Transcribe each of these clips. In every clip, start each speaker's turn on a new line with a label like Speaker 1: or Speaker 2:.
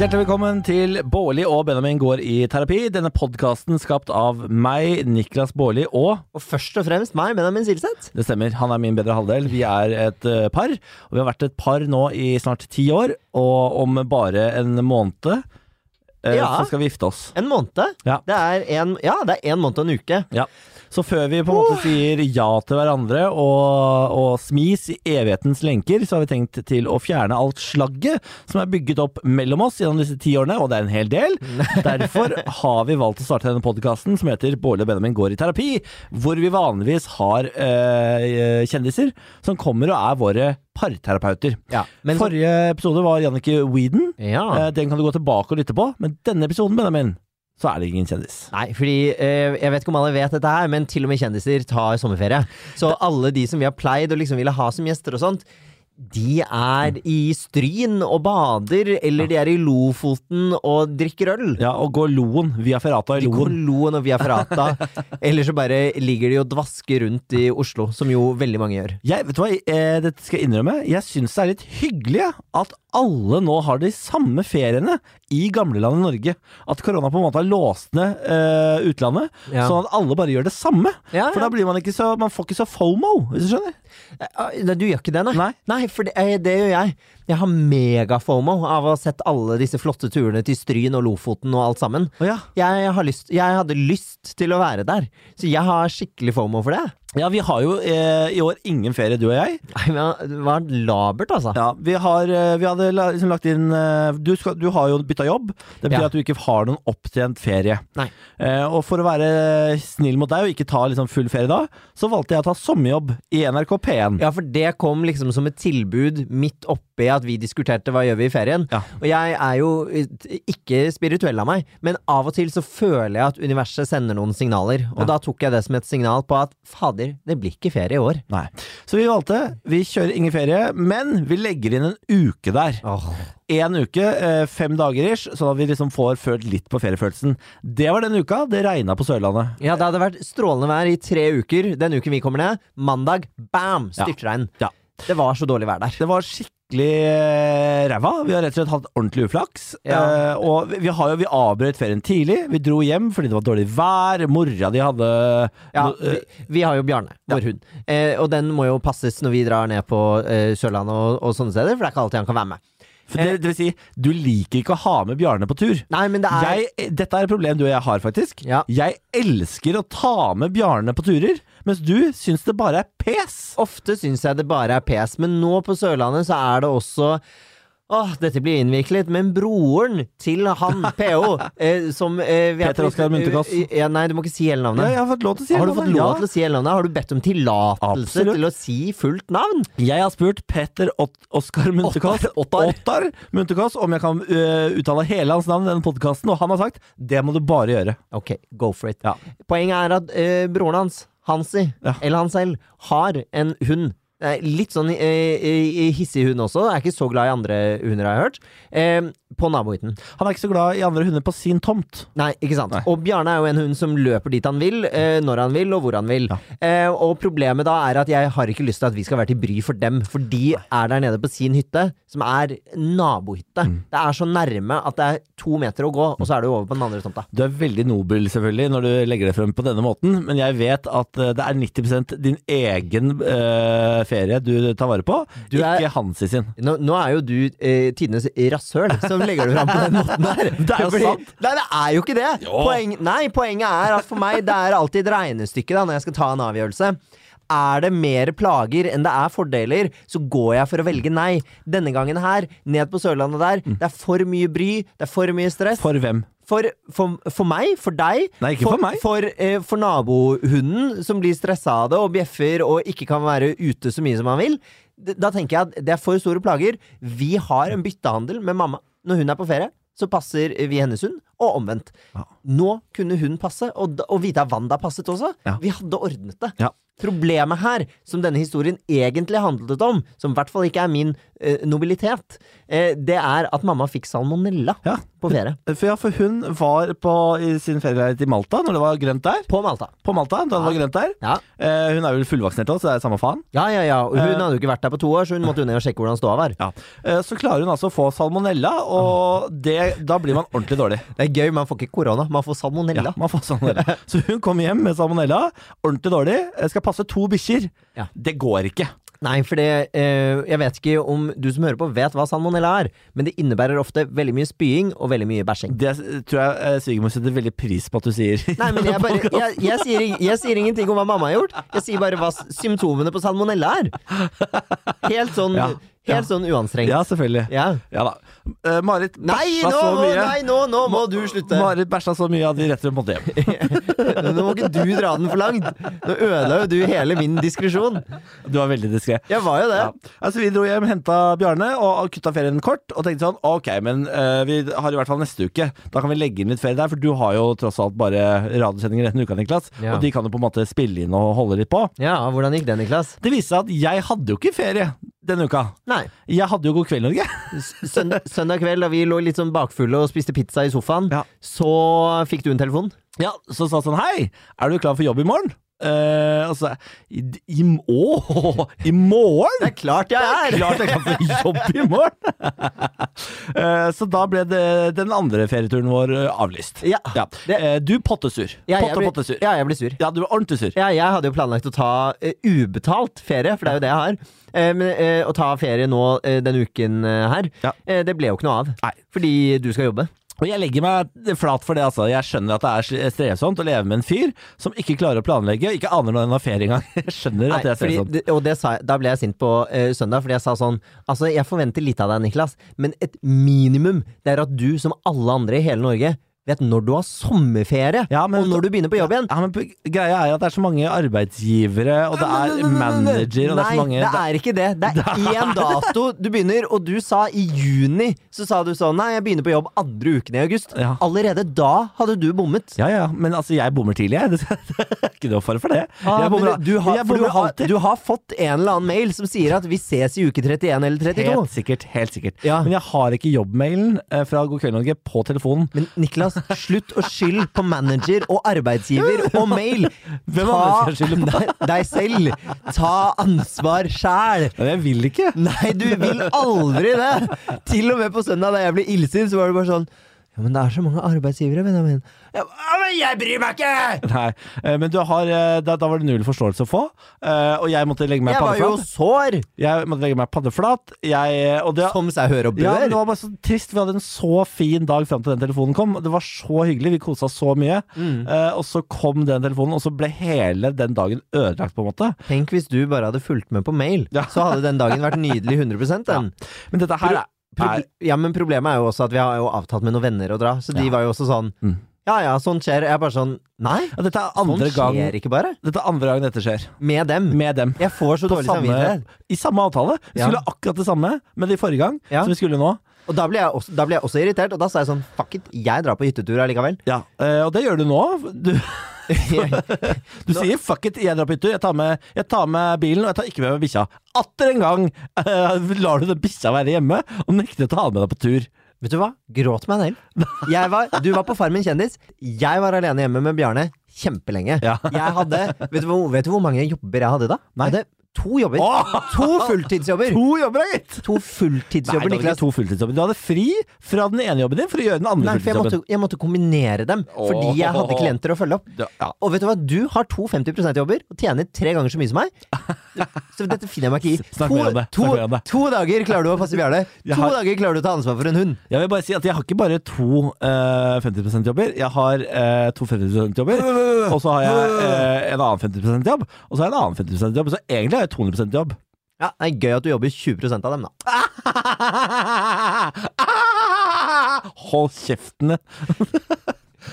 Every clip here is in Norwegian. Speaker 1: Hjertelig velkommen til Bårli og Benjamin går i terapi. Denne podkasten skapt av meg, Niklas Bårli, og
Speaker 2: Og først og fremst meg, Benjamin Silseth.
Speaker 1: det stemmer, han er min bedre halvdel. Vi er et eh, par, og vi har vært et par nå i snart ti år. Og om bare en måned eh,
Speaker 2: Ja.
Speaker 1: så skal vi gifte oss.
Speaker 2: En måned.
Speaker 1: Ja.
Speaker 2: Det er en, ja, det er en måned og en uke.
Speaker 1: Ja. Så før vi på en måte sier ja til hverandre og, og smis i evighetens lenker, så har vi tenkt til å fjerne alt slagget som er bygget opp mellom oss gjennom disse ti årene, og det er en hel del. Derfor har vi valgt å starte denne podkasten som heter Bårli og Benjamin går i terapi, hvor vi vanligvis har eh, kjendiser som kommer og er våre parterapeuter.
Speaker 2: men, Ah.
Speaker 1: Forrige episode var Jannicke Weeden.
Speaker 2: ja.
Speaker 1: Eh, den kan du gå tilbake og lytte på, men denne episoden, Benjamin, så er det ingen kjendis.
Speaker 2: Nei, fordi eh, jeg vet ikke om alle vet dette her, men til og med kjendiser tar sommerferie. Så alle de som vi har pleid og liksom ville ha som gjester og sånt, de er i Stryn og bader, eller de er i Lofoten og drikker øl.
Speaker 1: Ja, og går loen via Ferrata i
Speaker 2: De går
Speaker 1: loen.
Speaker 2: loen og via Ferrata. Eller så bare ligger de og dvasker rundt i Oslo, som jo veldig mange gjør.
Speaker 1: Jeg, vet du hva, eh, dette skal jeg innrømme. Jeg syns det er litt hyggelig jeg, at alle nå har de samme feriene i gamlelandet Norge. At korona på en måte har låst ned eh, utlandet,
Speaker 2: Ja.
Speaker 1: sånn at alle bare gjør det samme.
Speaker 2: Ja,
Speaker 1: For da blir man ikke så Man får ikke så fomo, hvis du skjønner.
Speaker 2: Ah, Nei, du gjør ikke det, nei?
Speaker 1: Nei.
Speaker 2: for det, eh, det gjør jeg. Jeg har megafomo av å ha sett alle disse flotte turene til Stryn og Lofoten og alt sammen.
Speaker 1: Å ja.
Speaker 2: Jeg, har lyst, jeg hadde lyst til å være der, så jeg har skikkelig fomo for det.
Speaker 1: ja, vi har jo eh, i år ingen ferie, du og jeg.
Speaker 2: Nei, men Det var labert, altså.
Speaker 1: Ja, vi, har, eh, vi hadde la- liksom lagt inn eh, du, skal, du har jo bytta jobb. Det betyr
Speaker 2: Ja.
Speaker 1: at du ikke har noen opptjent ferie.
Speaker 2: Nei.
Speaker 1: Eh, og for å være snill mot deg og ikke ta liksom full ferie da, så valgte jeg å ta sommerjobb i NRK P1.
Speaker 2: Ja, for det kom liksom som et tilbud midt oppi at vi diskuterte hva gjør vi i ferien.
Speaker 1: Ja.
Speaker 2: Og jeg er jo eh, ikke spirituell av meg, men av og til så føler jeg at universet sender noen signaler. Og da tok jeg det som et signal på at fader, det blir ikke ferie i år.
Speaker 1: Nei. Så vi valgte vi kjører ingen ferie, men vi legger inn en uke der. Én uke, eh, fem dager ish, sånn at vi liksom får følt litt på feriefølelsen. Det var den uka. Det regna på Sørlandet.
Speaker 2: Ja, det hadde vært strålende vær i tre uker. Den uken vi kommer ned, mandag, bam, styrtregn.
Speaker 1: Ja.
Speaker 2: Det var så dårlig vær der.
Speaker 1: Det var skikkelig eh, ræva. Vi har rett og slett hatt ordentlig uflaks.
Speaker 2: Ja.
Speaker 1: Eh, og vi, vi, har jo, vi avbrøt ferien tidlig. Vi dro hjem fordi det var dårlig vær. Mora di hadde
Speaker 2: Ja,
Speaker 1: no- eh,
Speaker 2: vi, eh, vi har jo Bjarne, vår hund, eh, og den må jo passes når vi drar ned på eh, Sørlandet og, og sånne steder, for det er ikke alltid han kan være med.
Speaker 1: for det, det vil si, du liker ikke å ha med Bjarne på tur.
Speaker 2: Nei, men det er
Speaker 1: Jeg, dette er et problem du og jeg har, faktisk.
Speaker 2: Ja.
Speaker 1: Jeg elsker å ta med Bjarne på turer, mens du syns det bare er pes.
Speaker 2: Ofte syns jeg det bare er pes, men nå på Sørlandet så er det også Åh, dette blir innviklet, men broren til han PO, eh, som eh, vi er-
Speaker 1: Peter Oskar Munterkaas.
Speaker 2: Eh, Ja, nei, du må ikke si hele navnet.
Speaker 1: Ja, jeg har fått lov til å si
Speaker 2: Har du fått lov
Speaker 1: å
Speaker 2: til å si hele navnet? Har du bedt om tillatelse
Speaker 1: Absolutt.
Speaker 2: til å si fullt navn?
Speaker 1: Jeg har spurt Petter Ott- Oskar Munterkaas
Speaker 2: Ottar.
Speaker 1: Ottar Munterkaas om jeg kan øh, uttale hele hans navn i denne podkasten, og han har sagt det må du bare gjøre.
Speaker 2: Ok, go for it.
Speaker 1: Ja.
Speaker 2: Poenget er at eh, broren hans, Hansi,
Speaker 1: Ja.
Speaker 2: eller han selv, har en hund. Det er Litt sånn eh, eh, hissig hund også. Jeg er ikke så glad i andre hunder, har jeg hørt. Eh, på nabohytten.
Speaker 1: Han er ikke så glad i andre hunder på sin tomt.
Speaker 2: Nei, ikke sant.
Speaker 1: Nei.
Speaker 2: Og Bjarne er jo en hund som løper dit han vil, eh, når han vil, og hvor han vil.
Speaker 1: Ja.
Speaker 2: Eh, og problemet da er at jeg har ikke lyst til at vi skal være til bry for dem, for de er der nede på sin hytte, som er nabohytte.
Speaker 1: Mm.
Speaker 2: Det er så nærme at det er to meter å gå, og så er du over på den andre tomta.
Speaker 1: Du er veldig nobel selvfølgelig når du legger det frem på denne måten, men jeg vet at øh, det er 90 din egen øh, ferie du tar vare på,
Speaker 2: Du er-
Speaker 1: ikke Hansi sin.
Speaker 2: Nå, nå er jo du eh, tidenes rasshøl som legger det fram på den måten der.
Speaker 1: Det er jo sant.
Speaker 2: Nei, det er jo ikke det. Poeng, nei, poenget er at for meg det er alltid et regnestykke da, når jeg skal ta en avgjørelse. Er det mer plager enn det er fordeler, så går jeg for å velge nei. Denne gangen her, ned på Sørlandet der,
Speaker 1: Mm.
Speaker 2: det er for mye bry, det er for mye stress.
Speaker 1: For hvem?
Speaker 2: For, for, for meg, for deg,
Speaker 1: Nei, ikke for meg.
Speaker 2: For, eh, for nabohunden som blir stressa av det og bjeffer og ikke kan være ute så mye som han vil, d- da tenker jeg at det er for store plager. Vi har en byttehandel med mamma. Når hun er på ferie, så passer vi hennes hund, og omvendt.
Speaker 1: Ja.
Speaker 2: Nå kunne hun passe, og, da- og Vita Wanda passet også.
Speaker 1: Ja.
Speaker 2: Vi hadde ordnet det.
Speaker 1: Ja.
Speaker 2: Problemet her, som denne historien egentlig handlet om, som i hvert fall ikke er min eh, nobilitet, eh, det er at mamma fikk salmonella
Speaker 1: Ja.
Speaker 2: på ferie.
Speaker 1: For, ja, for hun var på, i sin ferieleilighet i Malta når det var grønt der.
Speaker 2: På Malta.
Speaker 1: På Malta, da det var grønt der.
Speaker 2: Ja.
Speaker 1: Eh, hun er vel fullvaksinert også, så det er samme faen.
Speaker 2: Ja, ja, ja. Og hun
Speaker 1: Eh.
Speaker 2: hadde jo ikke vært der på to år, så hun måtte jo ned og sjekke hvordan ståa var.
Speaker 1: Ja. Eh, så klarer hun altså å få salmonella, og det, da blir man ordentlig dårlig.
Speaker 2: Det er gøy, man får ikke korona, man får salmonella.
Speaker 1: Ja, man får salmonella. Så hun kom hjem med salmonella, ordentlig dårlig. Jeg skal passe to bikkjer.
Speaker 2: Ja.
Speaker 1: Det går ikke.
Speaker 2: Nei, for det, eh, jeg vet ikke om du som hører på vet hva salmonella er, men det innebærer ofte veldig mye spying og veldig mye bæsjing.
Speaker 1: Det eh, tror jeg eh, svigermor setter veldig pris på at du sier.
Speaker 2: Nei, men jeg, bare, jeg, jeg, sier, ing- jeg sier ingenting om hva mamma har gjort, jeg sier bare hva s- symptomene på salmonella er. Helt sånn,
Speaker 1: Ja, ja.
Speaker 2: helt sånn uanstrengt. Ja.
Speaker 1: Ja, selvfølgelig. Ja da. Eh, Marit
Speaker 2: Nei,
Speaker 1: bæsja
Speaker 2: nå,
Speaker 1: så
Speaker 2: må-
Speaker 1: mye.
Speaker 2: nei nå, nå må du slutte!
Speaker 1: Marit bæsja så mye at vi rett og slett måtte hjem.
Speaker 2: Nå må ikke du dra den for langt! Nå ødela jo du hele min diskresjon.
Speaker 1: Du var veldig diskré.
Speaker 2: Jeg var jo det.
Speaker 1: Ja. Altså, vi dro hjem, henta Bjarne og kutta ferien kort. Og tenkte sånn Ok, men eh, vi har i hvert fall neste uke. Da kan vi legge inn litt ferie der, for du har jo tross alt bare radiosendinger denne uka, Niklas.
Speaker 2: Ja.
Speaker 1: Og de kan jo på en måte spille inn og holde litt på.
Speaker 2: Ja, hvordan gikk det, Niklas?
Speaker 1: Det viste seg at jeg hadde jo ikke ferie denne uka.
Speaker 2: Nei.
Speaker 1: Jeg hadde jo God kveld, Norge.
Speaker 2: Søndag, søndag kveld, da vi lå litt sånn bakfulle og spiste pizza i sofaen,
Speaker 1: Ja.
Speaker 2: så fikk du en telefon.
Speaker 1: Ja, så sa han sånn Hei, er du klar for jobb i morgen? Eh, og så I, i, å, I morgen?
Speaker 2: Det er klart jeg er!
Speaker 1: Klart jeg kan få jobb i morgen! Eh, så da ble det den andre ferieturen vår eh, avlyst.
Speaker 2: Ja. Det-
Speaker 1: Eh, du pottesur.
Speaker 2: Ja, jeg
Speaker 1: Potte,
Speaker 2: blir-
Speaker 1: pottesur.
Speaker 2: Ja, jeg blir sur.
Speaker 1: Ja, du var ordentlig sur.
Speaker 2: Ja, jeg hadde jo planlagt å ta eh, ubetalt ferie, for det er jo det jeg har. Eh, men eh, å ta ferie nå eh, denne uken eh, her,
Speaker 1: Ja.
Speaker 2: eh, det ble jo ikke noe av.
Speaker 1: Nei.
Speaker 2: Fordi du skal jobbe.
Speaker 1: Og jeg legger meg flat for det, altså. Jeg skjønner at det er strevsomt å leve med en fyr som ikke klarer å planlegge, og ikke aner når han har ferie engang. Jeg sånn. skjønner at det er
Speaker 2: fordi,
Speaker 1: strevsomt.
Speaker 2: det- og det sa jeg, da ble jeg sint på eh, søndag, fordi jeg sa sånn Altså, jeg forventer lite av deg, Niklas, men et minimum det er at du, som alle andre i hele Norge, vet når du har sommerferie,
Speaker 1: Ja, men-
Speaker 2: og når du begynner på jobb igjen.
Speaker 1: Ja, men p- Greia er jo at det er så mange arbeidsgivere, og det er manager, og det er så mange
Speaker 2: Nei, det er ikke det. Det er én dato du begynner, og du sa i juni Så sa du sånn Nei, jeg begynner på jobb andre uken i august.
Speaker 1: Ja.
Speaker 2: Allerede da hadde du bommet.
Speaker 1: Ja, ja, men altså, jeg bommer tidlig, jeg. Det er ikke noe fare for det.
Speaker 2: Ah,
Speaker 1: jeg
Speaker 2: men
Speaker 1: bommer,
Speaker 2: du, du, har,
Speaker 1: jeg
Speaker 2: for du,
Speaker 1: bommer
Speaker 2: har,
Speaker 1: alltid.
Speaker 2: du har fått en eller annen mail som sier at vi ses i uke 31 eller 32.
Speaker 1: Helt sikkert. helt sikkert
Speaker 2: Ja.
Speaker 1: Men jeg har ikke jobbmailen eh, fra God kveld Norge på telefonen.
Speaker 2: Men Niklas, slutt å skylde på manager og arbeidsgiver og mail.
Speaker 1: Hvem andre skal skylde på?
Speaker 2: Nei, deg selv. Ta ansvar sjæl.
Speaker 1: Men jeg vil ikke.
Speaker 2: Nei, du vil aldri det! Til og med på søndag da jeg ble illsint, så var det bare sånn Ja, men det er så mange arbeidsgivere, Benjamin. Ja, men jeg bryr meg ikke!
Speaker 1: Nei, eh, men du har eh, da, da var det null forståelse å få, eh, og jeg måtte legge meg
Speaker 2: Jeg var jo
Speaker 1: paddeflat.
Speaker 2: sår,
Speaker 1: Jeg måtte legge meg paddeflat. Jeg, og det,
Speaker 2: som seg hør og
Speaker 1: Ja, men
Speaker 2: bør.
Speaker 1: det var bare så trist. Vi hadde en så fin dag fram til den telefonen kom. Det var så hyggelig. Vi kosa så mye.
Speaker 2: Mm.
Speaker 1: Eh, og så kom den telefonen, og så ble hele den dagen ødelagt, på en måte.
Speaker 2: Tenk hvis du bare hadde fulgt med på mail, så hadde den dagen vært nydelig 100 den.
Speaker 1: Men dette her er
Speaker 2: Proble- Ja, men problemet er jo også at vi har jo avtalt med noen venner å dra, så de var jo også sånn
Speaker 1: Mm.
Speaker 2: Ja ja, sånt skjer. Jeg er bare sånn Nei,
Speaker 1: ja, dette er
Speaker 2: sånt
Speaker 1: andre gang
Speaker 2: Sånn skjer ikke bare.
Speaker 1: Dette er andre gangen dette skjer.
Speaker 2: Med dem.
Speaker 1: Med dem.
Speaker 2: Jeg får så
Speaker 1: På
Speaker 2: dårlig
Speaker 1: samme,
Speaker 2: samvittighet.
Speaker 1: I samme avtale. Vi
Speaker 2: Ja.
Speaker 1: skulle ha akkurat det samme med de forrige gang
Speaker 2: Ja.
Speaker 1: som vi skulle nå.
Speaker 2: Og da ble, jeg også, da ble jeg også irritert, og da sa jeg sånn Fuck it, jeg drar på hyttetur allikevel.
Speaker 1: Ja, eh, Og det gjør du nå. Du, du sier 'fuck it, jeg drar på hyttetur'. Jeg, tar med- jeg tar med bilen, og jeg tar ikke med meg bikkja. Atter en gang eh, lar du den bikkja være hjemme og nekter å ta den med deg på tur.
Speaker 2: Vet du hva? Gråt meg selv. Jeg var, du var på Farmen kjendis. Jeg var alene hjemme med Bjarne kjempelenge.
Speaker 1: Ja.
Speaker 2: Jeg hadde, vet, du, hvor- vet du hvor mange jobber jeg hadde da?
Speaker 1: Nei.
Speaker 2: Jeg hadde to jobber.
Speaker 1: Åh!
Speaker 2: To fulltidsjobber!
Speaker 1: To jobber, gitt!
Speaker 2: To fulltidsjobber,
Speaker 1: Nei, du hadde
Speaker 2: Niklas.
Speaker 1: ikke to fulltidsjobber. Du hadde fri fra den ene jobben din for å gjøre den andre
Speaker 2: Nei, for jeg
Speaker 1: fulltidsjobben.
Speaker 2: måtte, jeg måtte kombinere dem, fordi jeg hadde
Speaker 1: Åh.
Speaker 2: klienter å følge opp.
Speaker 1: Ja, ja.
Speaker 2: Og vet du hva, du har to 50 %-jobber og tjener tre ganger så mye som meg. Så dette finner jeg meg ikke i.
Speaker 1: Snakk mer om det.
Speaker 2: To,
Speaker 1: Snakk mer om
Speaker 2: to,
Speaker 1: det.
Speaker 2: to dager klarer du å passe Bjarne. To
Speaker 1: Jeg har-
Speaker 2: dager klarer du å ta ansvar for en hund.
Speaker 1: Jeg vil bare si at jeg har ikke bare to eh, 50 %-jobber. Jeg har eh, to 50 %-jobber, og så har jeg eh, en annen 50 %-jobb, og så har jeg en annen 50 %-jobb. Så egentlig har jeg 200 %-jobb.
Speaker 2: Ja, Det er gøy at du jobber 20 av dem, da.
Speaker 1: Hold eh. kjeftene!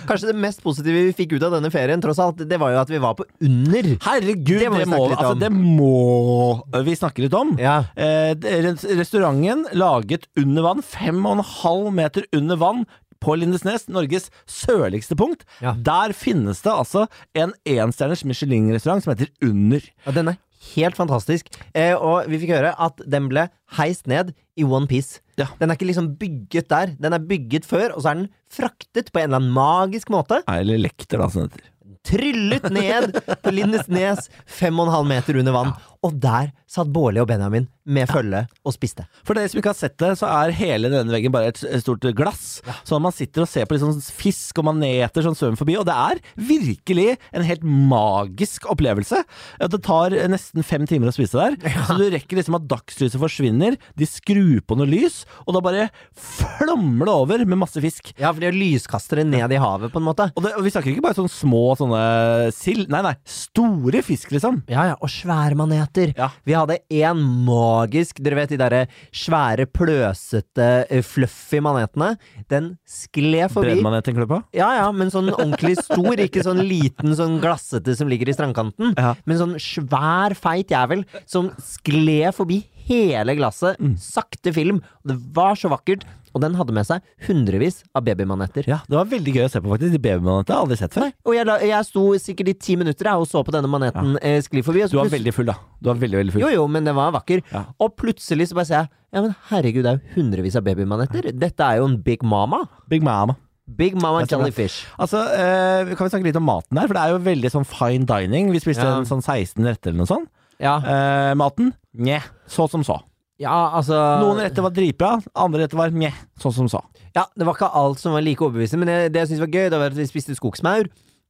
Speaker 2: Kanskje det mest positive vi fikk ut av denne ferien, tross alt, det var jo at vi var på under.
Speaker 1: Herregud,
Speaker 2: Det
Speaker 1: det
Speaker 2: må
Speaker 1: må,
Speaker 2: vi
Speaker 1: det må,
Speaker 2: snakke litt
Speaker 1: altså,
Speaker 2: om.
Speaker 1: det må vi snakke litt om.
Speaker 2: Ja.
Speaker 1: Eh, det- res- restauranten laget under vann, fem og en halv meter under vann, på Lindesnes, Norges sørligste punkt.
Speaker 2: Ja.
Speaker 1: Der finnes det altså en enstjerners Michelin-restaurant som heter Under.
Speaker 2: Og den er helt fantastisk. Eh, og vi fikk høre at den ble heist ned i one piece.
Speaker 1: Ja.
Speaker 2: Den er ikke liksom bygget der. Den er bygget før, og så er den fraktet på en eller annen magisk måte.
Speaker 1: Eller Lekter, da, som det heter.
Speaker 2: Tryllet ned på Lindesnes, fem og en halv meter under vann. Og der satt Bårli og Benjamin med følge og spiste.
Speaker 1: For dere som ikke har sett det, så er hele denne veggen bare et et stort glass. Så man sitter og ser på litt sånn fisk og maneter som svømmer forbi, og det er virkelig en helt magisk opplevelse. Det tar nesten fem timer å spise der, så du rekker liksom at dagslyset forsvinner, de skrur på noe lys, og da bare flommer det over med masse fisk.
Speaker 2: Ja, for de har lyskastere ned i havet, på en måte.
Speaker 1: Og, det, og vi snakker ikke bare sånne små sånne sild, nei nei, store fisk liksom.
Speaker 2: Ja, ja, og svære maneter.
Speaker 1: Ja.
Speaker 2: Vi hadde én magisk Dere vet de derre svære, pløsete, eh, fluffy manetene? Den skled forbi.
Speaker 1: Bredmanet en kløpa.
Speaker 2: Ja, ja, men sånn ordentlig stor, ikke sånn liten, sånn glassete som ligger i strandkanten.
Speaker 1: Ja.
Speaker 2: Men sånn svær, feit jævel som skled forbi hele glasset. Sakte film. og Det var så vakkert. Og den hadde med seg hundrevis av babymanetter.
Speaker 1: Ja, det var veldig gøy å se på faktisk, de babymanetene har jeg aldri sett før.
Speaker 2: Og jeg, la- jeg sto sikkert i ti minutter jeg, og så på denne maneten eh, skli forbi. Og så
Speaker 1: Du var
Speaker 2: plutselig-
Speaker 1: veldig full da, du var veldig, veldig full.
Speaker 2: Jo, jo, men den var vakker.
Speaker 1: Ja.
Speaker 2: Og plutselig så bare ser jeg Ja, men herregud, det er jo hundrevis av babymanetter. Dette er jo en Big Mama.
Speaker 1: Big Mama.
Speaker 2: Big Mama
Speaker 1: Jeg stemmer.
Speaker 2: Jellyfish.
Speaker 1: Altså, eh, Kan vi snakke litt om maten her? For det er jo veldig sånn fine dining. Vi spiste
Speaker 2: Ja.
Speaker 1: en sånn 16 retter eller noe sånt.
Speaker 2: Ja,
Speaker 1: Eh, maten Njeh, så som så.
Speaker 2: ja altså
Speaker 1: Noen retter var dritbra, andre retter var njeh, så som så.
Speaker 2: Ja, det var ikke alt som var like overbevisende, men det, det jeg syntes var gøy, det var at vi spiste skogsmaur.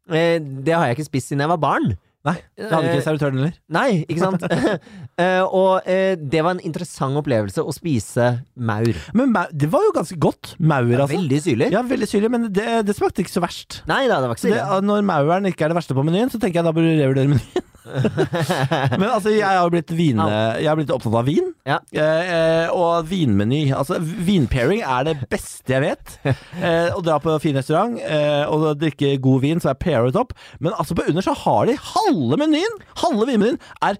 Speaker 2: Eh, det har jeg ikke spist siden jeg var barn.
Speaker 1: Nei, det hadde
Speaker 2: Eh,
Speaker 1: ikke servitøren heller.
Speaker 2: Nei, ikke sant? eh, og eh, det var en interessant opplevelse å spise maur.
Speaker 1: Men mau- det var jo ganske godt. Maur, altså.
Speaker 2: Veldig syrlig.
Speaker 1: Ja, veldig syrlig, men det, det smakte ikke så verst.
Speaker 2: Nei da, det var ikke
Speaker 1: Så det,
Speaker 2: syrlig.
Speaker 1: når mauren ikke er det verste på menyen, så tenker jeg da burde du revurdere menyen. Men altså, jeg har jo blitt, vine, jeg har blitt opptatt av vin.
Speaker 2: Ja.
Speaker 1: Eh, eh, og vinmeny. Altså, vinpairing er det beste jeg vet. Eh, å dra på en fin restaurant eh, og drikke god vin som er pairet opp. Men altså, på under så har de halve menyen! Halve vinmenyen er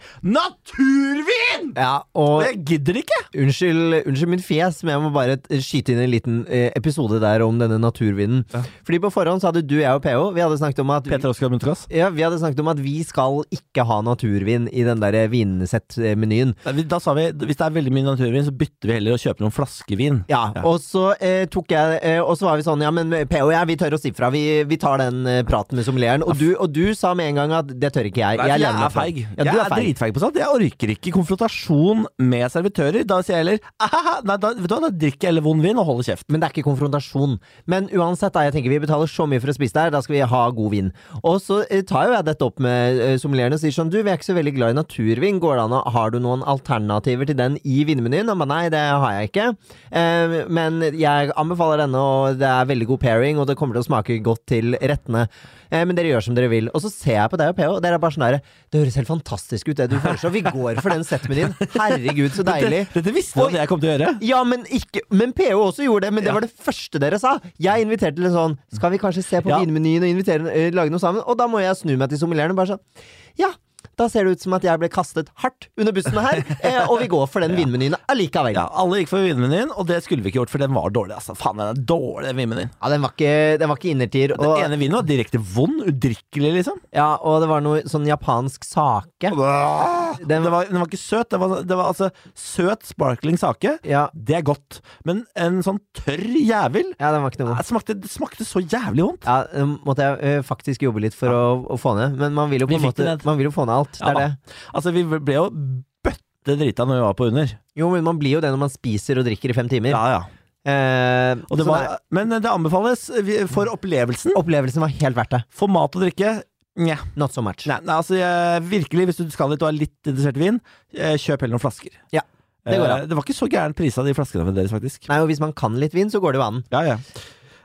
Speaker 1: naturvin!
Speaker 2: Ja, og
Speaker 1: Jeg gidder ikke!
Speaker 2: Unnskyld, unnskyld mitt fjes, men jeg må bare t- skyte inn en liten eh, episode der om denne naturvinden. Fordi på forhånd så hadde du, jeg og PH, vi hadde snakket om at
Speaker 1: Peter Oskar Munterkaas.
Speaker 2: ja, vi hadde snakket om at vi skal ikke ha naturvin i den der vinsett-menyen.
Speaker 1: Da vi- da sa vi hvis det er veldig mye naturvin, så bytter vi heller og kjøper noen flaskevin.
Speaker 2: Ja,
Speaker 1: Ja.
Speaker 2: og så eh, tok jeg eh, Og så var vi sånn, ja men PH og jeg, vi tør å si fra. Vi, vi tar den eh, praten med sommelieren. Og du, og du sa med en gang at det tør ikke jeg.
Speaker 1: Nei, for
Speaker 2: lener
Speaker 1: jeg
Speaker 2: meg
Speaker 1: er
Speaker 2: på.
Speaker 1: feig.
Speaker 2: Ja,
Speaker 1: jeg
Speaker 2: du
Speaker 1: er,
Speaker 2: er feig.
Speaker 1: dritfeig på sånt. Jeg orker ikke konfrontasjon med servitører. Da sier jeg heller «Ahaha, Nei, da, vet du hva, da drikker jeg heller vond vin og holder kjeft.
Speaker 2: Men det er ikke konfrontasjon. Men uansett, da, jeg tenker vi betaler så mye for å spise der, da skal vi ha god vin. Og så eh, tar jo jeg dette opp med eh, sommelieren og sier sånn, du, vi er ikke så veldig glad i naturvin, går det an å Har du noen alternativer til den i vinmenyen? Han ba nei, det har jeg ikke. Eh, men jeg anbefaler denne, og det er veldig god pairing, og det kommer til å smake godt til rettene. Eh, men dere gjør som dere vil. Og så ser jeg på deg og PH, og dere er bare sånn her, det høres helt fantastisk ut det du foreslår, vi går for den settmenyen. Herregud, så deilig.
Speaker 1: Dette visste du
Speaker 2: Oi.
Speaker 1: at jeg kom til å gjøre.
Speaker 2: Ja, men, ikke, men PO også gjorde det, men det
Speaker 1: Ja.
Speaker 2: var det første dere sa. Jeg inviterte til en sånn Skal vi kanskje se på
Speaker 1: Ja.
Speaker 2: vinmenyen og invitere, eh, lage noe sammen? Og da må jeg snu meg til sommelieren og bare sånn Ja, da ser det ut som at jeg ble kastet hardt under bussen her, eh, og vi går for den vinmenyen allikevel.
Speaker 1: Ja, alle gikk for vinmenyen, og det skulle vi ikke gjort, for den var dårlig. Altså, faen, den er dårlig, den vinmenyen.
Speaker 2: Ja, den var ikke, den var ikke innertier.
Speaker 1: Den
Speaker 2: Og,
Speaker 1: ene vinen var direkte vond, udrikkelig, liksom.
Speaker 2: ja, og det var noe sånn japansk sake.
Speaker 1: Den var, den var ikke søt. Det var, det var altså søt sparkling sake.
Speaker 2: Ja,
Speaker 1: Det er godt. Men en sånn tørr jævel
Speaker 2: ja den var ikke noe god.
Speaker 1: det smakte, det smakte så jævlig vondt.
Speaker 2: Ja, det måtte jeg eh, faktisk jobbe litt for å, å få ned, men man vil jo på
Speaker 1: Vi
Speaker 2: en
Speaker 1: fikk det
Speaker 2: måte
Speaker 1: ned.
Speaker 2: Man vil jo få ned alt.
Speaker 1: Ja
Speaker 2: det
Speaker 1: da.
Speaker 2: er det.
Speaker 1: Altså, vi ble jo bøtte drita når vi var på under.
Speaker 2: Jo, men man blir jo det når man spiser og drikker i fem timer.
Speaker 1: Ja, ja.
Speaker 2: Eh,
Speaker 1: Og det
Speaker 2: så
Speaker 1: var,
Speaker 2: nei,
Speaker 1: men eh, det anbefales vi- for opplevelsen.
Speaker 2: opplevelsen var helt verdt det.
Speaker 1: For mat og drikke Nja.
Speaker 2: Not so much.
Speaker 1: Nei, nei, altså jeg, virkelig, hvis du skal dit og er litt interessert i vin, eh, kjøp heller noen flasker.
Speaker 2: Ja, det går
Speaker 1: Eh,
Speaker 2: an.
Speaker 1: det var ikke så gæren pris av de flaskene deres, faktisk.
Speaker 2: Nei, og hvis man kan litt vin, så går det jo an.
Speaker 1: Ja, ja.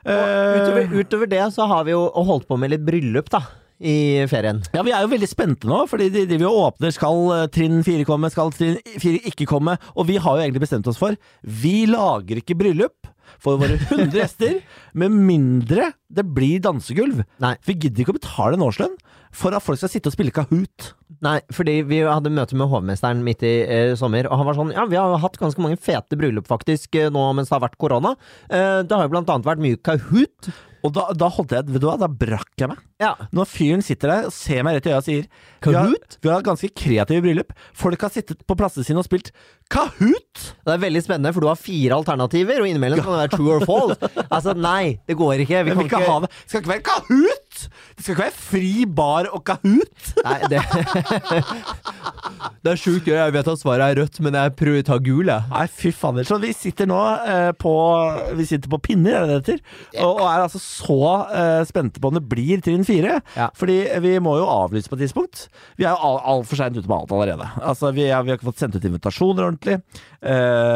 Speaker 1: Eh,
Speaker 2: Utover, utover det så har vi jo holdt på med litt bryllup, da, i ferien.
Speaker 1: ja, vi er jo veldig spente nå, fordi de driver og åpner. Skal eh, trinn fire komme, skal trinn fire ikke komme? Og vi har jo egentlig bestemt oss for vi lager ikke bryllup for våre 100 gjester med mindre det blir dansegulv.
Speaker 2: Nei.
Speaker 1: Vi gidder ikke å betale en årslønn. for at folk skal sitte og spille Kahoot.
Speaker 2: Nei, fordi vi hadde møte med hovmesteren midt i eh, sommer, og han var sånn Ja, vi har jo hatt ganske mange fete bryllup faktisk eh, nå mens det har vært korona. Eh, det har jo blant annet vært mye Kahoot.
Speaker 1: Og da, da holdt jeg Vet du hva, da brakk jeg meg.
Speaker 2: Ja.
Speaker 1: Når fyren sitter der og ser meg rett i øya og sier vi har,
Speaker 2: Kahoot?
Speaker 1: vi har ganske kreative bryllup. Folk har sittet på plassene sine og spilt Kahoot!
Speaker 2: Det er veldig spennende, for du har fire alternativer, og innimellom kan det være true or false. Altså, nei, det går ikke. Vi
Speaker 1: Men vi
Speaker 2: kan
Speaker 1: kan ikke ha det. Det skal ikke være Kahoot! Det skal ikke være fri bar og Kahoot!
Speaker 2: Nei, det Det er sjukt gøy. Jeg vet at svaret er rødt, men jeg prøver å ta gul, jeg.
Speaker 1: Nei, fy fader. Så vi sitter nå eh, på Vi sitter på pinner, er det det heter? Og, og er altså så eh, spente på om det blir trinn fire.
Speaker 2: Ja.
Speaker 1: Fordi vi må jo avlyse på et tidspunkt. Vi er jo al- altfor seint ute med alt allerede. Altså, vi, er, vi har ikke fått sendt ut invitasjoner ordentlig.
Speaker 2: Vi har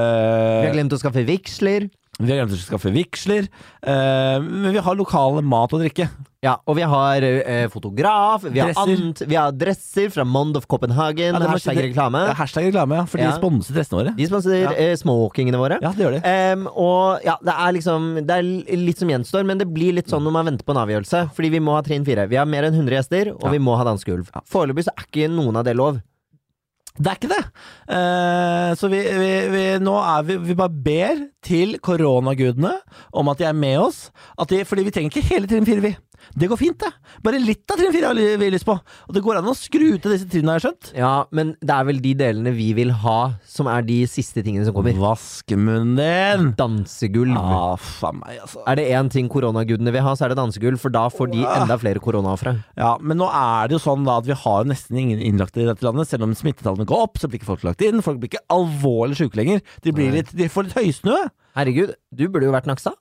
Speaker 1: Eh,
Speaker 2: glemt å skaffe vigsler.
Speaker 1: vi har glemt å skaffe vigsler. Eh, men vi har lokale mat og drikke.
Speaker 2: Ja, og vi har eh, fotograf, vi har,
Speaker 1: Dresser.
Speaker 2: ant, vi har dresser fra Mond of Copenhagen,
Speaker 1: Ja, det må
Speaker 2: hashtag
Speaker 1: sitte-
Speaker 2: reklame.
Speaker 1: Ja, hashtag reklame, ja. For de
Speaker 2: Ja.
Speaker 1: sponser dressene våre.
Speaker 2: De sponsorer
Speaker 1: Ja.
Speaker 2: eh, småwalkingene våre.
Speaker 1: Ja, det gjør de.
Speaker 2: Em, og ja, det er liksom Det er l- litt som gjenstår, men det blir litt sånn når man venter på en avgjørelse. Fordi vi må ha trinn fire. Vi har mer enn 100 gjester, og
Speaker 1: Ja.
Speaker 2: vi må ha danskeulv. Foreløpig så er ikke noen av det lov.
Speaker 1: Det er ikke det! Eh, så vi, vi, vi, nå er vi, vi bare ber til koronagudene om at de er med oss. At de, fordi vi trenger ikke hele trinn fire, vi. Det går fint, det. Bare litt av trinn fire har vi lyst på. Og det går an å skru til disse trinnene, har jeg skjønt.
Speaker 2: Ja, men det er vel de delene vi vil ha, som er de siste tingene som kommer.
Speaker 1: Vask munnen din!
Speaker 2: Dansegulv.
Speaker 1: Ah, faen meg, altså.
Speaker 2: Er det én ting koronagudene vil ha, så er det dansegulv, for da får de enda flere koronaofre.
Speaker 1: Ja, Men nå er det jo sånn da at vi har jo nesten ingen innlagte i dette landet. Selv om smittetallene går opp, så blir ikke folk lagt inn. Folk blir ikke alvorlig syke lenger. De, blir litt, de får litt høysnø.
Speaker 2: Herregud, du burde jo vært Nakstad.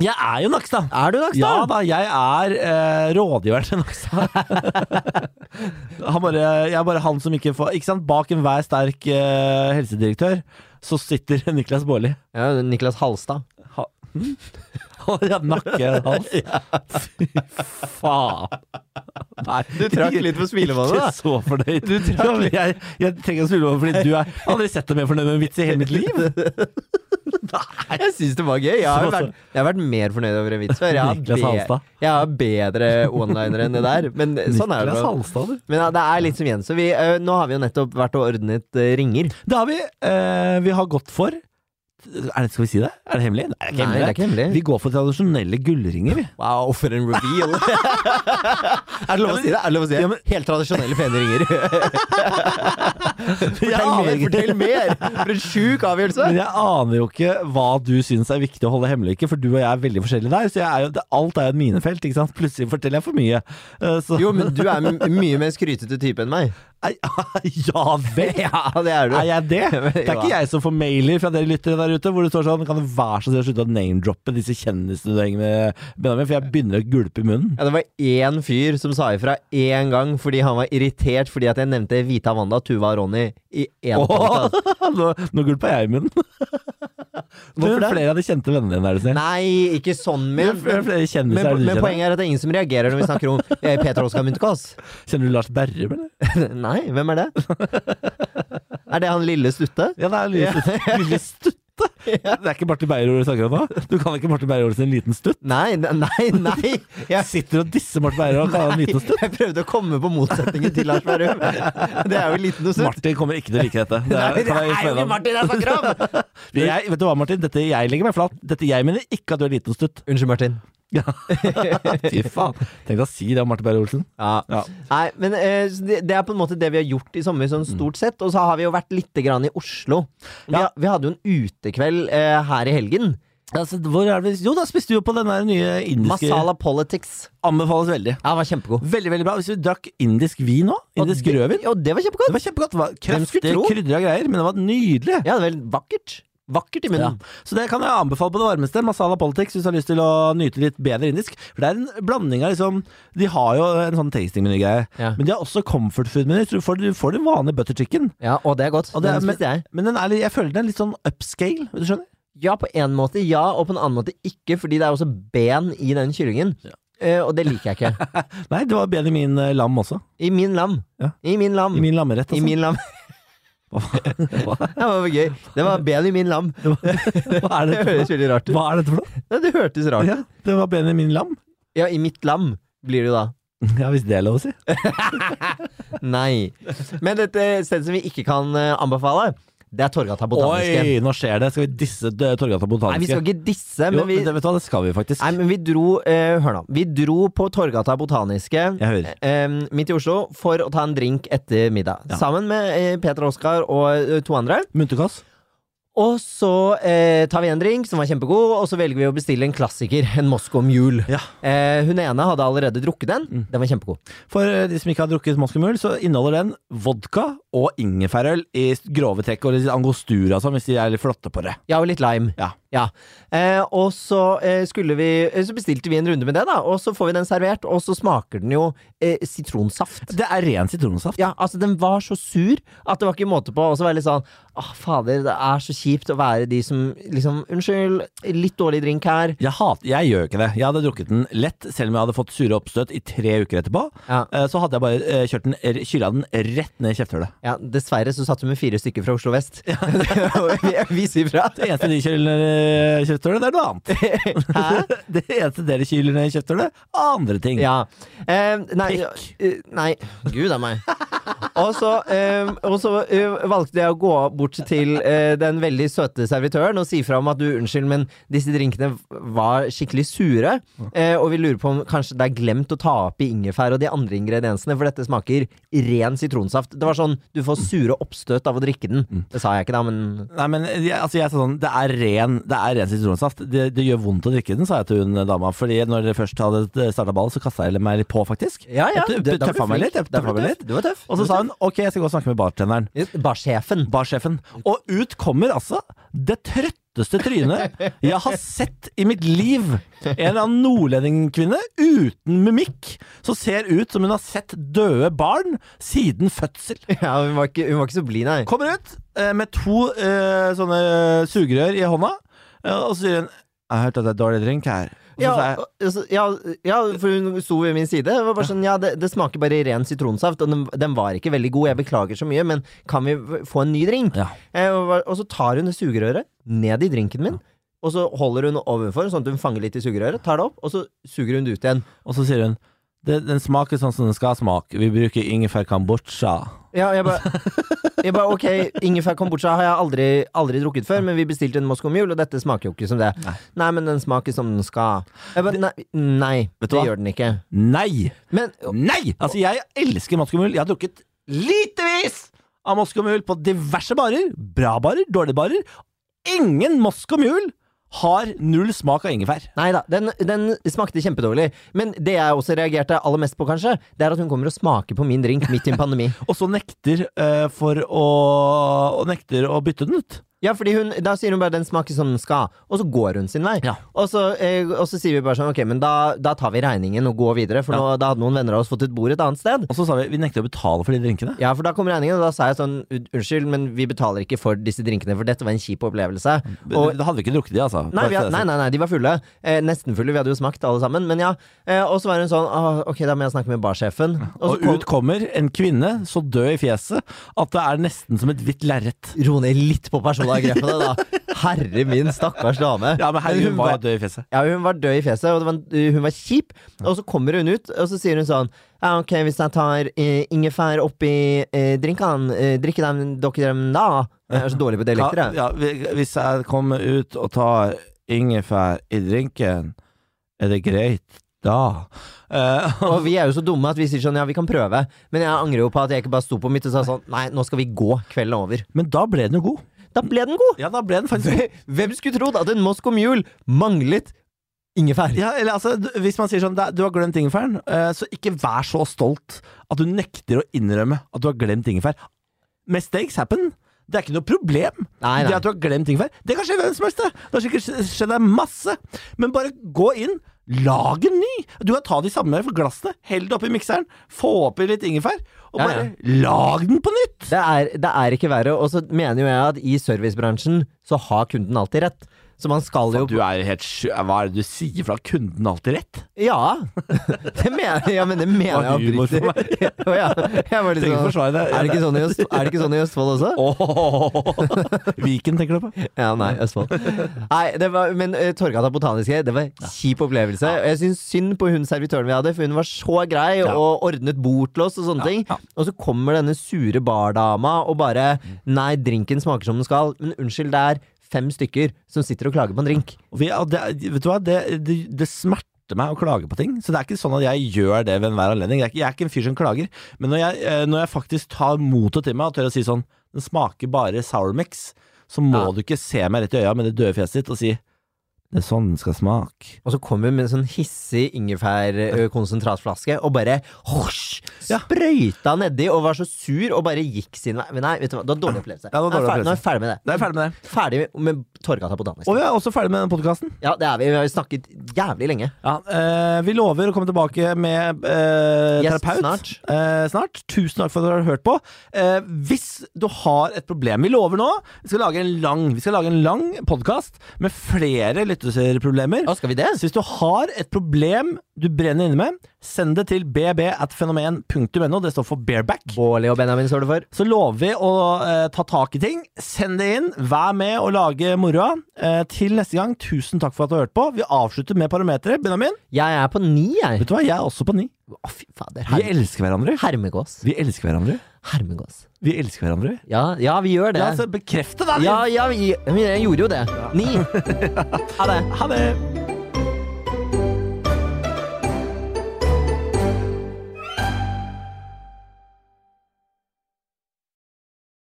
Speaker 1: Jeg er jo Nakstad!
Speaker 2: Er du Nakstad?
Speaker 1: Ja da, jeg er eh, rådgiveren til Nakstad. han bare, jeg er bare han som ikke får Ikke sant, bak enhver sterk eh, helsedirektør så sitter Niklas Baarli.
Speaker 2: Ja, Niklas Halstad.
Speaker 1: Ha, hm? Han har Nakkehals. Fy faen. Nei, du
Speaker 2: for
Speaker 1: Ikke så fornøyd. Ja, men jeg, jeg trenger å smile over fordi du er Jeg har aldri sett deg mer fornøyd med en vits i hele mitt liv. Altså-
Speaker 2: Jeg syns det var gøy. Jeg har, vært, jeg har vært mer fornøyd over en vits før. Jeg har,
Speaker 1: Niklas Halstad.
Speaker 2: jeg har bedre onliner enn det der, men sånn er det.
Speaker 1: Niklas
Speaker 2: jo.
Speaker 1: Halstad, du.
Speaker 2: Men ja, det er litt som Jens. så Vi, eh, nå har vi jo nettopp vært og ordnet eh, ringer.
Speaker 1: Det har vi. Eh, vi har gått for er det, Skal vi si det? Er det hemmelig? Nei, det er ikke
Speaker 2: Nei,
Speaker 1: hemmelig.
Speaker 2: det er ikke hemmelig.
Speaker 1: Vi går for tradisjonelle gullringer, vi.
Speaker 2: Wow, for en reveal! er det lov å si det? Er det lov å si det? Helt tradisjonelle pene ringer.
Speaker 1: Jeg aner ikke-
Speaker 2: mer! For en sjuk avgjørelse!
Speaker 1: Men jeg aner jo ikke hva du syns er viktig å holde hemmelig, ikke, for du og jeg er veldig forskjellige der. Så jeg er jo, det, alt er jo et minefelt. Ikke sant? Plutselig forteller jeg for mye. Eh, så,
Speaker 2: Jo, men du er m- mye mer skrytete type enn meg.
Speaker 1: Ei, ja vel!
Speaker 2: Ja, det er du.
Speaker 1: Er jeg det? Det er
Speaker 2: Ja.
Speaker 1: ikke jeg som får mailer fra dere lyttere der ute hvor det står sånn Kan du være så snill å slutte å name-droppe disse kjendisene du henger med, Benjamin? For jeg begynner å gulpe i munnen.
Speaker 2: Ja, det var én fyr som sa ifra én gang fordi han var irritert fordi at jeg nevnte Vita Wanda, Tuva og Ronny i én podcast.
Speaker 1: nå, nå gulpa jeg i munnen. Hvorfor
Speaker 2: det?
Speaker 1: Flere av de kjente vennene dine, er du snill.
Speaker 2: Nei, ikke sånn,
Speaker 1: Men,
Speaker 2: men
Speaker 1: flere
Speaker 2: men,
Speaker 1: kjendiser er det du
Speaker 2: men
Speaker 1: kjenner.
Speaker 2: poenget er at det er ingen som reagerer når vi snakker om eh, Peter Oskar Munch-Kaas.
Speaker 1: Kjenner du Lars Berrum, eller?
Speaker 2: Nei, hvem er det? Er det han lille stutte?
Speaker 1: Ja, det er lille, stutt- lille stutte. Det er ikke Martin Beyer-ord du snakker om nå? Du kan ikke Martin Beyer-ord sin liten stutt?
Speaker 2: Nei, ne- nei, nei!
Speaker 1: Jeg
Speaker 2: Jeg,
Speaker 1: sitter og disser Martin Beyer og kaller han liten stutt.
Speaker 2: jeg prøvde å komme på motsetningen til Lars Berrum. Det er jo en liten og stutt.
Speaker 1: Martin kommer ikke til å like dette. Det
Speaker 2: Nei,
Speaker 1: er,
Speaker 2: det
Speaker 1: kan
Speaker 2: er
Speaker 1: jeg
Speaker 2: jo
Speaker 1: informere
Speaker 2: ikke
Speaker 1: om.
Speaker 2: Martin jeg snakker om!
Speaker 1: Men Jeg, vet du hva, Martin? Dette jeg legger meg flat. Dette jeg mener ikke at du er liten stutt.
Speaker 2: Unnskyld, Martin.
Speaker 1: Ja. Fy faen. Tenk deg å si det om Martin Beyer-Olsen.
Speaker 2: Ja.
Speaker 1: Ja.
Speaker 2: Nei, men eh, så det, det er på en måte det vi har gjort i sommer, sånn stort sett. Og så har vi jo vært lite grann i Oslo. Vi,
Speaker 1: Ja.
Speaker 2: ha- vi hadde jo en utekveld eh, her i helgen.
Speaker 1: Altså, hvor er det? vi- Jo, da spiste vi jo på den der nye indiske
Speaker 2: Masala Politics.
Speaker 1: Anbefales veldig.
Speaker 2: Ja, den var kjempegod.
Speaker 1: Veldig, veldig bra. Hvis vi drakk indisk vin òg,
Speaker 2: Og
Speaker 1: indisk
Speaker 2: det-
Speaker 1: rødvin
Speaker 2: Ja, det var
Speaker 1: Det
Speaker 2: kjempegodt.
Speaker 1: var kjempegodt. Det var
Speaker 2: Hvem skulle
Speaker 1: kraftige,
Speaker 2: tro?
Speaker 1: krydra greier, men det var nydelig.
Speaker 2: Ja, det var vakkert. Vakkert i
Speaker 1: Ja.
Speaker 2: munnen.
Speaker 1: Så det kan jeg anbefale på det varmeste. Masala Politics, hvis du har lyst til å nyte litt bedre indisk. For det er en blanding av liksom De har jo en sånn tasting-menygreie,
Speaker 2: Ja.
Speaker 1: men de har også comfort food-menyer. Så Du får, du får den vanlige butter chicken.
Speaker 2: Ja, og det er godt.
Speaker 1: Og det er-
Speaker 2: den spiste jeg.
Speaker 1: Men den er, litt- jeg føler den er litt sånn upscale, hvis du skjønner?
Speaker 2: Ja, på en måte ja, og på en annen måte ikke, fordi det er også ben i den kyllingen. Eh, og det liker jeg ikke.
Speaker 1: Nei, det var Benjamin eh, Lam også.
Speaker 2: I min lam.
Speaker 1: Ja.
Speaker 2: I min lam.
Speaker 1: I min lammerett. Altså.
Speaker 2: I min lam.
Speaker 1: Hva, hva,
Speaker 2: Ja, det var gøy. Det var ben i min lam.
Speaker 1: hva, er
Speaker 2: Det
Speaker 1: dette for
Speaker 2: høres
Speaker 1: noe?
Speaker 2: veldig rart ut.
Speaker 1: hva er dette for noe?
Speaker 2: Ja, det hørtes rart ut.
Speaker 1: Ja, det var Benjamin Lam.
Speaker 2: Ja, i mitt lam blir det jo da.
Speaker 1: Ja, hvis det er lov å si.
Speaker 2: Nei. Men et eh, sted som vi ikke kan eh, anbefale, det er Torgata Botaniske.
Speaker 1: Oi, nå skjer det! Skal vi disse eh, Torgata Botaniske?
Speaker 2: Nei, vi skal ikke disse,
Speaker 1: jo,
Speaker 2: men vi,
Speaker 1: men det, vet du hva, det skal vi faktisk.
Speaker 2: nei, men vi dro eh, Hør nå. Vi dro på Torgata Botaniske
Speaker 1: Jeg hører.
Speaker 2: eh, midt i Oslo for å ta en drink etter middag. Sammen med eh, Peter Oskar og eh, to andre.
Speaker 1: Munterkass?
Speaker 2: Og så eh, tar vi en drink som var kjempegod, og så velger vi å bestille en klassiker. En Moscow Mule.
Speaker 1: Ja.
Speaker 2: Eh, hun ene hadde allerede drukket den.
Speaker 1: Mm.
Speaker 2: Den var kjempegod.
Speaker 1: For eh, de som ikke har drukket Moskemul, så inneholder den vodka og ingefærøl i grove trekk, og litt angostura og sånn, hvis de er litt flotte på det.
Speaker 2: Ja, og litt lime.
Speaker 1: Ja.
Speaker 2: Eh, og så, eh, skulle vi, eh, så bestilte vi en runde med det, da. Og så får vi den servert, og så smaker den jo eh, sitronsaft.
Speaker 1: Det er ren sitronsaft.
Speaker 2: Ja, altså Den var så sur at det var ikke måte på. Og så var jeg litt sånn Åh, fader, det er så kjipt å være de som liksom Unnskyld, litt dårlig drink her.
Speaker 1: Jeg, hat, jeg gjør ikke det. Jeg hadde drukket den lett, selv om jeg hadde fått sure oppstøt i tre uker etterpå.
Speaker 2: Ja.
Speaker 1: Eh, Så hadde jeg bare eh, kjørt den, r- kyla den rett ned i kjefthullet.
Speaker 2: Ja, Dessverre så satt hun med fire stykker fra Oslo vest. vi, vi sier fra.
Speaker 1: Det eneste de kyler ned i kjefthullet, det er noe annet.
Speaker 2: Hæ?
Speaker 1: Det eneste dere kyler ned i kjefthullet, er andre ting.
Speaker 2: Ja. Eh, nei,
Speaker 1: Pikk.
Speaker 2: eh, nei. Gud a meg. Og så, eh, og så eh, valgte jeg å gå bort til eh, den veldig søte servitøren og si fra om at du, unnskyld, men disse drinkene var skikkelig sure, eh, og vi lurer på om kanskje det er glemt å ta opp i ingefær og de andre ingrediensene, for dette smaker ren sitronsaft. Det var sånn, du får sure oppstøt av å drikke den. Det sa jeg ikke da, men
Speaker 1: Nei, men jeg, altså jeg sa sånn, det er ren, det er ren sitronsaft. Det, det gjør vondt å drikke den, sa jeg til hun eh, dama. Fordi når dere først hadde starta ball, så kasta jeg meg litt på, faktisk. Jeg
Speaker 2: da- da var du
Speaker 1: tøffa meg
Speaker 2: flink.
Speaker 1: litt. Jeg
Speaker 2: Da var
Speaker 1: tøffa
Speaker 2: du
Speaker 1: meg
Speaker 2: tøff.
Speaker 1: litt.
Speaker 2: Du var tøff.
Speaker 1: Og så sa hun ok, jeg skal gå og snakke med bartenderen.
Speaker 2: hun Bare sjefen.
Speaker 1: Barsjefen. Og ut kommer altså det trøtteste trynet jeg har sett i mitt liv. En eller annen nordlendingkvinne uten mimikk som ser ut som hun har sett døde barn siden fødsel.
Speaker 2: Ja, hun var ikke, hun var ikke så blid, nei.
Speaker 1: Kommer ut eh, med to eh, sånne sugerør i hånda, eh, og så sier hun 'Jeg har hørt at det er dårlig drink her'. Og så
Speaker 2: Ja,
Speaker 1: sa jeg,
Speaker 2: altså, ja, ja, for hun sto ved min side. Det var bare sånn, ja, det, det smaker bare ren sitronsaft, og den, den var ikke veldig god. Jeg beklager så mye, men kan vi v- få en ny drink?
Speaker 1: Ja.
Speaker 2: Eh, og, var- og så tar hun det sugerøret ned i drinken min, og så holder hun overfor, sånn at hun fanger litt i sugerøret, tar det opp, og så suger hun det ut igjen.
Speaker 1: Og så sier hun «Det- 'Den smaker sånn som den skal smake. Vi bruker ingefær kambodsja'.
Speaker 2: Ja, jeg bare, jeg bare Ok, ingefær kombucha har jeg aldri, aldri drukket før, men vi bestilte en Moscow Mule, og dette smaker jo ikke som det. Nei, men den smaker som den skal. Jeg bare, nei, nei
Speaker 1: Vet
Speaker 2: det
Speaker 1: du hva?
Speaker 2: gjør den ikke.
Speaker 1: Nei!
Speaker 2: Men
Speaker 1: Nei! Altså, jeg elsker Moskomul. Jeg har drukket litevis av Moskomul på diverse barer. Bra barer, dårlige barer. Ingen Moskomul har null smak av ingefær.
Speaker 2: Nei da, den, den smakte kjempedårlig. Men det jeg også reagerte aller mest på, kanskje, det er at hun kommer og smaker på min drink midt i en pandemi.
Speaker 1: Og så nekter eh, for å og nekter å bytte den ut.
Speaker 2: Ja, fordi hun, Da sier hun bare 'den smaker som den skal', og så går hun sin vei.
Speaker 1: Ja.
Speaker 2: Og, så, eh, og så sier vi bare sånn 'ok, men da, da tar vi regningen og går videre', for nå, da hadde noen venner av oss fått et bord et annet sted.
Speaker 1: Og så sa vi vi nekter å betale for de drinkene.
Speaker 2: Ja, for da kom regningen, og da sa jeg sånn 'unnskyld, men vi betaler ikke for disse drinkene, for dette var en kjip opplevelse'.
Speaker 1: Mm,
Speaker 2: Og
Speaker 1: da hadde vi ikke drukket de, altså.
Speaker 2: Nei, vi, had- nei, nei, nei, de var fulle. Eh, nesten fulle. Vi hadde jo smakt, alle sammen. Men ja. Eh, og så var hun sånn «Ah, Ok, da må jeg snakke med barsjefen. så
Speaker 1: Og
Speaker 2: kom-
Speaker 1: ut kommer en kvinne så død i fjeset at det er nesten som et hvitt lerret.
Speaker 2: ro ned litt på personangrepene, da. Herre min, stakkars dame.
Speaker 1: Ja, men herregud,
Speaker 2: hun
Speaker 1: hun var
Speaker 2: var-
Speaker 1: død i fjeset.
Speaker 2: ja, hun var død i fjeset, og det var, hun var kjip. Og så kommer hun ut, og så sier hun sånn Ja, ok, hvis jeg tar eh, ingefær oppi eh, drinkene, eh, drikker dem, dere dem da? Jeg er så dårlig på dialekter, jeg.
Speaker 1: Ja, ja, hvis jeg kommer ut og tar ingefær i drinken, er det greit da? Eh,
Speaker 2: Og vi er jo så dumme at vi sier sånn ja, vi kan prøve. Men jeg angrer jo på at jeg ikke bare sto på mitt og sa sånn nei, nå skal vi gå, kvelden er over.
Speaker 1: men da ble den jo god.
Speaker 2: Da ble den god!
Speaker 1: Ja, da ble den faktisk god.
Speaker 2: Hvem skulle trodd at en Moscow Mule manglet ingefær?
Speaker 1: Ja, eller altså, du- hvis man sier sånn, "Da- du har glemt ingefæren, eh, så ikke vær så stolt at du nekter å innrømme at du har glemt ingefær. Mistakes happen. Det er ikke noe problem.
Speaker 2: Nei, nei.
Speaker 1: Det at du har glemt ingefær, det kan skje hvem som helst. Det Det har sikkert skjedd deg masse. Men bare gå inn, lag en ny. Du kan ta de samme glassene, hell det oppi mikseren, få oppi litt ingefær, og
Speaker 2: Ja,
Speaker 1: bare lag den på nytt.
Speaker 2: Det er, det er ikke verre, og så mener jo jeg at i servicebransjen så har kunden alltid rett. Så man skal jo
Speaker 1: Du er helt sj... Hva er det du sier? For da har kunden alltid rett.
Speaker 2: Ja! Det mener, ja, men det mener
Speaker 1: var
Speaker 2: jeg
Speaker 1: humor for
Speaker 2: oppriktig. Å, ja. Jeg var
Speaker 1: Trenger
Speaker 2: litt
Speaker 1: ikke
Speaker 2: sånn,
Speaker 1: forsvare deg.
Speaker 2: er, det ikke sånn i Øst, er det ikke sånn i Østfold også?
Speaker 1: Åh. Viken, tenker du på?
Speaker 2: Ja, nei, Østfold. Nei, det var, men uh, Torgata botaniske, det var en kjip opplevelse. Og jeg syns synd på hun servitøren vi hadde, for hun var så grei
Speaker 1: Ja.
Speaker 2: og ordnet bord til oss og sånne ting.
Speaker 1: ja. Mm.
Speaker 2: Og så kommer denne sure bardama og bare Nei, drinken smaker som den skal. Men unnskyld, det er fem stykker som sitter og klager på en drink.
Speaker 1: Vi, ja, det, vet du hva, det, det, det smerter meg å klage på ting, så det er ikke sånn at jeg gjør det ved enhver anledning. Jeg er ikke, jeg er ikke en fyr som klager, men når jeg, eh, når jeg faktisk tar motet til meg og tør å si sånn Den smaker bare sour mix, så må
Speaker 2: Ja.
Speaker 1: du ikke se meg rett i øya med det døde fjeset ditt og si det er sånn den skal smake.
Speaker 2: Og så kommer hun med en sånn hissig ingefærkonsentratflaske og bare hosj,
Speaker 1: Ja.
Speaker 2: sprøyta nedi og var så sur og bare gikk sin vei. Men nei, vet du hva, det var dårlig opplevelse.
Speaker 1: Ja, det var dårlig
Speaker 2: Nå er jeg ferdig- Nå er
Speaker 1: opplevelse.
Speaker 2: jeg ferdig med det.
Speaker 1: Da er jeg ferdig med det.
Speaker 2: Ferdig med Torgata botaniske.
Speaker 1: Og vi er også ferdig med den podkasten.
Speaker 2: Ja, det er vi. Vi har jo snakket jævlig lenge.
Speaker 1: Ja, eh, vi lover å komme tilbake med eh,
Speaker 2: Gjest
Speaker 1: terapeut
Speaker 2: snart.
Speaker 1: Eh, snart. Tusen takk for at dere har hørt på. Eh, hvis du har et problem Vi lover nå, vi skal lage en lang, vi skal lage en lang podkast med flere lytterproblemer.
Speaker 2: Å, skal vi det?
Speaker 1: Så hvis du har et problem du brenner inne med, send det til bb.fenomen.no. Det står for bareback.
Speaker 2: Bårli og Benjamin står det for.
Speaker 1: Så lover vi å eh, ta tak i ting. Send det inn. Vær med og lage moroa. Eh, til neste gang, tusen takk for at du har hørt på. Vi avslutter med Parometeret. Benjamin,
Speaker 2: Jeg er på ni, jeg.
Speaker 1: vet du hva? jeg er også på ni.
Speaker 2: Å, fy fader.
Speaker 1: Vi
Speaker 2: Her
Speaker 1: elsker hverandre.
Speaker 2: Hermegås.
Speaker 1: Vi elsker hverandre.
Speaker 2: Hermegås.
Speaker 1: Vi elsker hverandre.
Speaker 2: Ja, ja, vi gjør det.
Speaker 1: Ja, så bekrefte det!
Speaker 2: Ja, ja, vi, men jeg gjorde jo det. Ni. Ha det.
Speaker 1: Ha det!